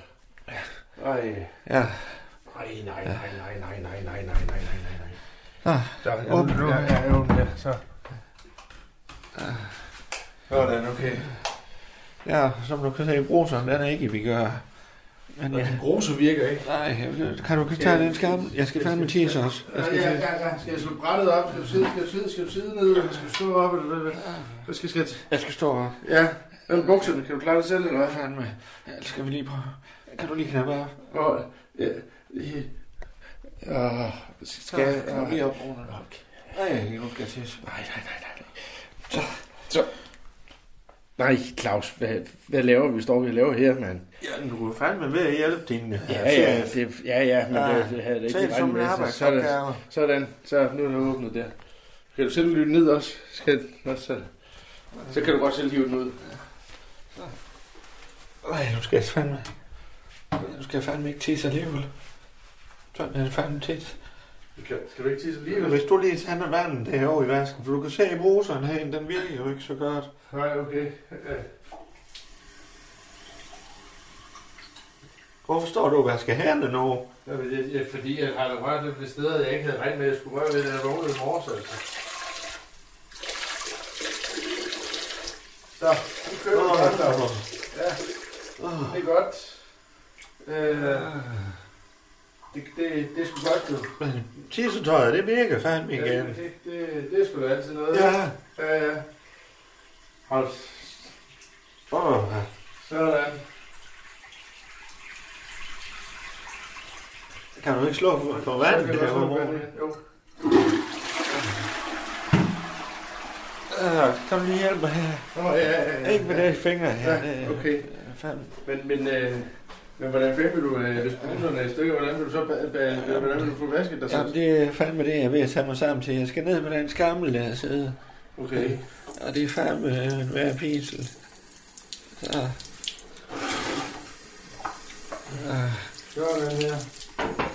Speaker 1: Ej.
Speaker 2: Ja,
Speaker 1: Ej, nej, nej, nej, nej, nej, nej, nej, nej, nej, nej, nej.
Speaker 2: Ah,
Speaker 1: Der er
Speaker 2: åbn nu.
Speaker 1: Ja, ja, åbn her, så. Sådan, okay.
Speaker 2: ja, som du kan se, bruseren, den er ikke i vigør. Men
Speaker 1: Og
Speaker 2: ja,
Speaker 1: den grose virker ikke.
Speaker 2: nej, Øh, kan du ikke tage den skærm? Jeg skal fandme tisse også. Jeg
Speaker 1: Ja,
Speaker 2: skal
Speaker 1: ja,
Speaker 2: tisse.
Speaker 1: ja, ja. Skal jeg slå brættet op? Skal du sidde, skal du sidde, skal du sidde ned? Eller skal du stå op? Eller hvad? hvad- Hvad skal jeg til?
Speaker 2: Jeg skal stå op.
Speaker 1: Ja, hvem bukserne? Kan du klare det selv, eller
Speaker 2: Hvad
Speaker 1: hvad?
Speaker 2: fanden med? Skal vi lige prøve? Kan du lige knappe af?
Speaker 1: Og, ja, ja, ja, skal jeg...
Speaker 2: Kan du lige op, Rune? Nej, nu skal jeg tisse.
Speaker 1: Nej, nej, nej, nej. Så, så. Nej, Claus, hvad, hvad laver vi? Står vi og laver her, mand?
Speaker 2: Ja, du er fandme ved at hjælpe din...
Speaker 1: Ja, ja, det, ja, ja, men
Speaker 2: Ja,
Speaker 1: det, det havde jeg da
Speaker 2: Tag
Speaker 1: ikke
Speaker 2: altså. det som
Speaker 1: regnet
Speaker 2: en
Speaker 1: med. Så, sådan,
Speaker 2: arbejdsopgave.
Speaker 1: sådan, så nu er det åbnet der. Kan du selv lytte ned også? Skal, nå, så, så kan du godt selv hive den ud.
Speaker 2: Nej, nu skal jeg fandme... Nu skal jeg fandme ikke tisse alligevel. Sådan er det fandme tit.
Speaker 1: Skal, skal du ikke tisse
Speaker 2: Hvis du lige tager vandet derovre i vasken, for du kan se i bruseren herinde, den virker jo ikke så godt.
Speaker 1: Nej, okay.
Speaker 2: Hvorfor står du og vasker hænder nu?
Speaker 1: Jeg, jeg, fordi jeg har rørt det ved steder, jeg ikke havde regnet med, at jeg skulle røre ved, da jeg vågnede i morges. Altså. Så, nu kører vi godt, Claus. Ja, det er godt. Øh, det, det, det er sgu godt, du.
Speaker 2: Men tissetøjet, det virker fandme
Speaker 1: Ja,
Speaker 2: igen.
Speaker 1: det, det, det er sgu da altid noget.
Speaker 2: Ja.
Speaker 1: ja, ja. Hold,
Speaker 2: Åh, ja.
Speaker 1: sådan.
Speaker 2: kan du ikke slå for, for vandet
Speaker 1: Så kan du også
Speaker 2: derovre?
Speaker 1: lukke vandet ind. Jo.
Speaker 2: Ja, Kom lige hjælp mig her.
Speaker 1: Nå, ja, ja, ja.
Speaker 2: Ikke med deres fingre her.
Speaker 1: Ja,
Speaker 2: det er
Speaker 1: okay.
Speaker 2: Fandme.
Speaker 1: Men, men, øh, men hvordan fanden vil du, øh, hvis bruserne er i stykker, hvordan vil du så ba- ba- hvordan vil du få vasket dig
Speaker 2: Jamen,
Speaker 1: selv?
Speaker 2: det er fandme det, jeg er ved at tage mig sammen til. Jeg skal ned med den skammel, der sidder.
Speaker 1: Okay.
Speaker 2: Og det er fandme øh, en værre pinsel. Så,
Speaker 1: Sådan her.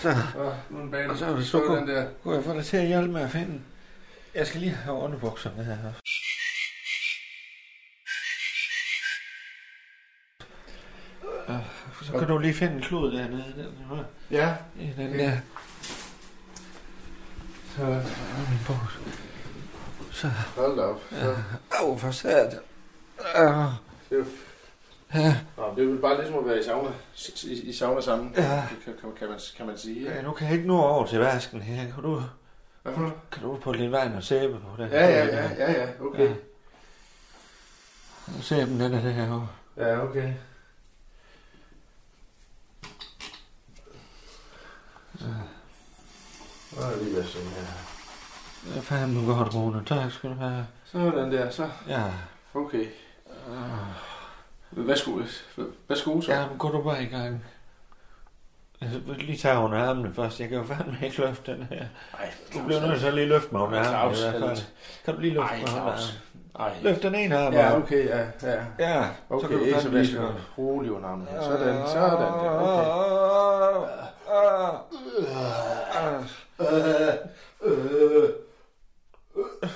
Speaker 2: så
Speaker 1: Og nu er den bag
Speaker 2: Og så er
Speaker 1: den. Sådan
Speaker 2: det sukker.
Speaker 1: der.
Speaker 2: kunne jeg få dig til at hjælpe med at finde. den? Jeg skal lige have underbukserne her. Øh, Så kan du lige finde en klud dernede. Den, her.
Speaker 1: Ja.
Speaker 2: I den der.
Speaker 1: Så
Speaker 2: Åh, min buks. Så,
Speaker 1: hold da op. Så.
Speaker 2: au, for sat. Øh,
Speaker 1: Det er jo
Speaker 2: ja,
Speaker 1: Nå, det er jo bare ligesom at være i sauna, i, i sauna sammen,
Speaker 2: ja.
Speaker 1: kan, kan, kan, man, kan man sige.
Speaker 2: Ja, nu kan jeg ikke nå over til vasken her. Kan du,
Speaker 1: Hvad for noget?
Speaker 2: kan du på lidt vand og sæbe på den?
Speaker 1: Ja, ja, ja, ja, ja, okay.
Speaker 2: Sæben, den er derovre.
Speaker 1: Ja, okay. Så er det lige været sådan her.
Speaker 2: Ja, fandme godt, Rune. Tak skal du have.
Speaker 1: Sådan der, så.
Speaker 2: Ja.
Speaker 1: Okay. Hvad skulle, hvad skulle så?
Speaker 2: Ja, men gå du bare i gang. Altså, lige tager under armene først. Jeg kan jo fandme ikke løfte den her.
Speaker 1: Ej,
Speaker 2: Du bliver nødt til at lige løfte mig under
Speaker 1: Ej,
Speaker 2: armene.
Speaker 1: Claus,
Speaker 2: i hvert fald. Kan du lige løfte
Speaker 1: Ej,
Speaker 2: mig under
Speaker 1: Claus.
Speaker 2: armene?
Speaker 1: Ej.
Speaker 2: Løft den ene arm.
Speaker 1: Ja,
Speaker 2: op.
Speaker 1: okay, ja, ja.
Speaker 2: Ja, så
Speaker 1: Okay,
Speaker 2: kan du
Speaker 1: ikke så
Speaker 2: fandme lige
Speaker 1: vildt.
Speaker 2: så godt.
Speaker 1: Rolig under armen her. Sådan, sådan der. Okay.
Speaker 2: Ah,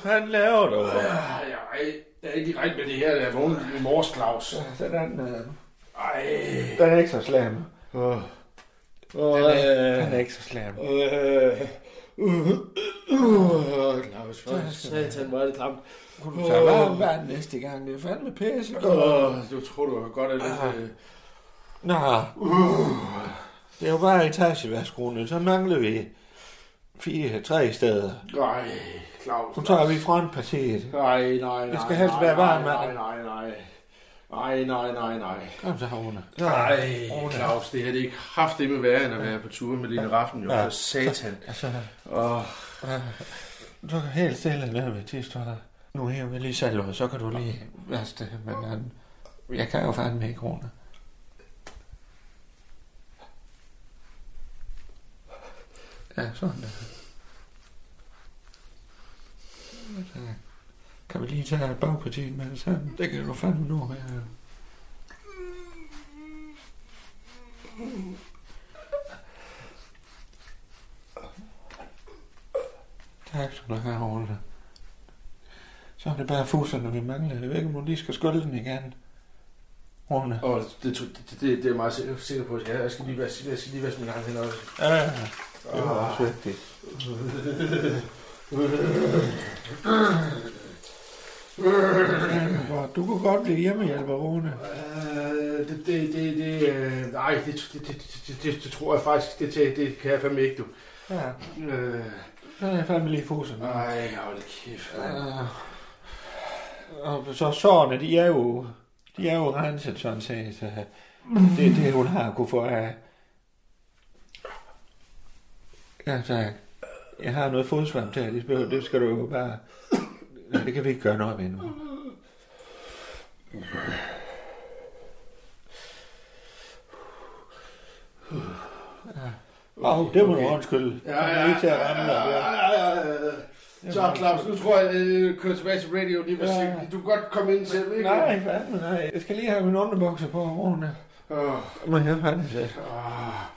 Speaker 2: Hvad laver du?
Speaker 1: Ej, ej, jeg er ikke i ret med det her, der er vågnet i mors Claus.
Speaker 2: Sådan, øh,
Speaker 1: Ej.
Speaker 2: den er ikke så slam.
Speaker 1: Åh.
Speaker 2: Den er, den er ikke så slam.
Speaker 1: Øh. Uh, uh, Claus, for satan, hvor er det klamt.
Speaker 2: Kunne du tage varm vand næste gang? Det er fandme pisse.
Speaker 1: Åh, du tror, du har godt af det. øh.
Speaker 2: Nå, det er jo bare etageværskronen. Så mangler vi fire, tre steder.
Speaker 1: Nej, Claus.
Speaker 2: Nu tager vi frontpartiet.
Speaker 1: Nej, nej, nej.
Speaker 2: Det skal helst
Speaker 1: nej,
Speaker 2: være varm,
Speaker 1: Nej,
Speaker 2: mand.
Speaker 1: nej, nej. Nej, nej, nej, nej.
Speaker 2: Kom så, Rune.
Speaker 1: Nej, Claus, det her det er kraftedeme værre, end at være på tur med Line Raffen, jo.
Speaker 2: Ja.
Speaker 1: For satan.
Speaker 2: Altså,
Speaker 1: Åh,
Speaker 2: du kan helt stille ned ved tidsdøret. Nu hæver vi lige salget, så kan du lige vaske det. Men øhm, jeg kan jo fandme ikke, Rune. Ja, sådan der. Så Kan vi lige tage bagpartiet med det sammen? Det kan du fandme nu. Ja. Tak skal du have, Ole. Så er det bare fuserne, vi mangler. Jeg ved ikke, om du lige skal skylde den igen. Rune.
Speaker 1: oh, det, det, det, det, er jeg meget sikker- sikker på, at jeg, jeg skal lige være, jeg skal lige være mine egne hænder også.
Speaker 2: Ja, ja, ja. Det var også vigtigt. Hvor- Du kunne godt blive hjemmehjælper, Rune.
Speaker 1: Øh, det, det, det, det, øh, nej, det, det, det, det, det, det, det tror jeg faktisk, det, det, det kan jeg fandme ikke, du.
Speaker 2: Ja,
Speaker 1: Øh,
Speaker 2: så er jeg fandme lige fuserne.
Speaker 1: nej, hold kæft, mand.
Speaker 2: Øh, Og så sårene, de er jo, de er jo renset sådan set. Så det er det, hun har kunne få af. Ja, tak. Jeg har noget fodsvamp der, det, behøver, det skal du jo bare... Nej, det kan vi ikke gøre noget ved nu. Ja. Åh, det må du undskylde.
Speaker 1: Ja,
Speaker 2: Jeg
Speaker 1: ja,
Speaker 2: er ikke til at ramme dig.
Speaker 1: ja, ja, ja, ja. Så Claus, nu tror jeg, øh, kører tilbage til radio lige for
Speaker 2: Ja.
Speaker 1: sent. Du kan godt komme ind selv, ikke?
Speaker 2: Nej, fandme nej. Jeg skal lige have min underbukser på om morgenen.
Speaker 1: Åh,
Speaker 2: Må jeg fandme sætte?
Speaker 1: åh,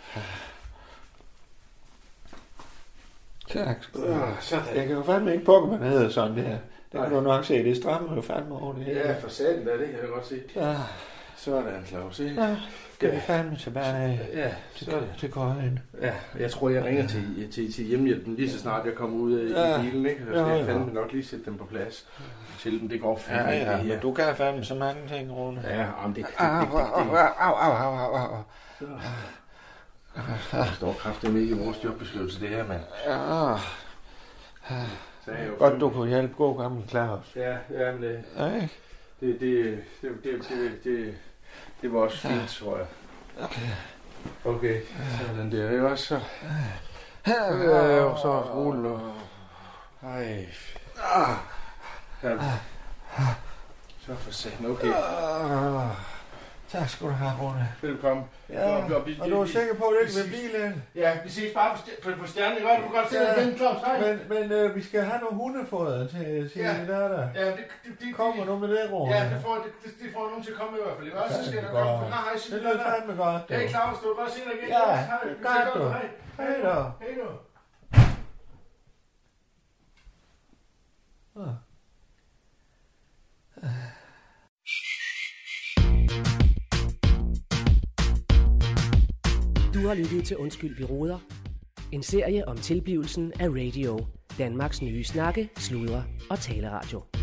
Speaker 2: Tak. skal du have.
Speaker 1: åh, sådan.
Speaker 2: Jeg kan jo fandme ikke pokke, man hedder sådan det her. Det
Speaker 1: Nej.
Speaker 2: kan du nok se, det strammer jo fandme over det hele.
Speaker 1: Ja, for satan da, det kan jeg da godt se.
Speaker 2: Ja,
Speaker 1: Sådan, Claus, ikke?
Speaker 2: ja. Skal vi fandme tilbage
Speaker 1: Ja, sådan.
Speaker 2: til, til køjen?
Speaker 1: Ja, jeg tror, jeg ringer til, til, til hjemmehjælpen lige så snart jeg kommer ud af
Speaker 2: Ja.
Speaker 1: ja. bilen, ikke? Så skal
Speaker 2: Ja,
Speaker 1: jeg
Speaker 2: ja.
Speaker 1: fandme nok lige sætte dem på plads. Til dem, det går fandme
Speaker 2: Ja,
Speaker 1: ikke,
Speaker 2: ja,
Speaker 1: det her.
Speaker 2: men du kan fandme så mange ting, Rune.
Speaker 1: Ja, jamen, det, det,
Speaker 2: Au,
Speaker 1: det,
Speaker 2: au,
Speaker 1: det,
Speaker 2: au, au, au, au, au.
Speaker 1: det, det står kraftigt ikke i vores jobbeskrivelse, det her, mand. Så
Speaker 2: Ja,
Speaker 1: er jeg jo
Speaker 2: godt du kunne hjælpe god gammel Claus.
Speaker 1: Ja, ja, men det,
Speaker 2: Ja, ikke?
Speaker 1: det, det, det, det, det, det, det var også fint, tror jeg. Okay, sådan der, ikke også? Så, øh, og så rolig nu. Ej. Ah. Ja. Så for satan, okay.
Speaker 2: Ah, Tak skal du have, Rune.
Speaker 1: Velkommen.
Speaker 2: Ja,
Speaker 1: Og- og vi-
Speaker 2: og du er
Speaker 1: vi-
Speaker 2: sikker på, at det ikke vil blive lidt?
Speaker 1: Ja, vi ses bare på, st- på, på stjernen, ikke? også? Du kan godt se
Speaker 2: Ja.
Speaker 1: dig igen, Claus. Hej.
Speaker 2: Men, men øh, vi skal have nogle hundefoder til, til
Speaker 1: Ja.
Speaker 2: ja. der der.
Speaker 1: Ja, det, det, det,
Speaker 2: Kommer
Speaker 1: det,
Speaker 2: nu med det, Rune.
Speaker 1: Ja, det får, det, det, det får nogen til at komme i hvert fald, ikke? også? Så skal
Speaker 2: Ja,
Speaker 1: der
Speaker 2: det
Speaker 1: komme.
Speaker 2: går.
Speaker 1: Hej, hej, sig
Speaker 2: Det
Speaker 1: det
Speaker 2: lyder fandme godt.
Speaker 1: Hey Claus, du kan godt se dig igen.
Speaker 2: Ja,
Speaker 1: Claus. Hej,
Speaker 2: det er
Speaker 1: vi
Speaker 2: godt,
Speaker 1: ses godt.
Speaker 2: du.
Speaker 1: Hej.
Speaker 2: Hej da.
Speaker 1: Hej du.
Speaker 3: Du har lyttet til Undskyld, vi råder. En serie om tilblivelsen af radio. Danmarks nye snakke, sludre og taleradio.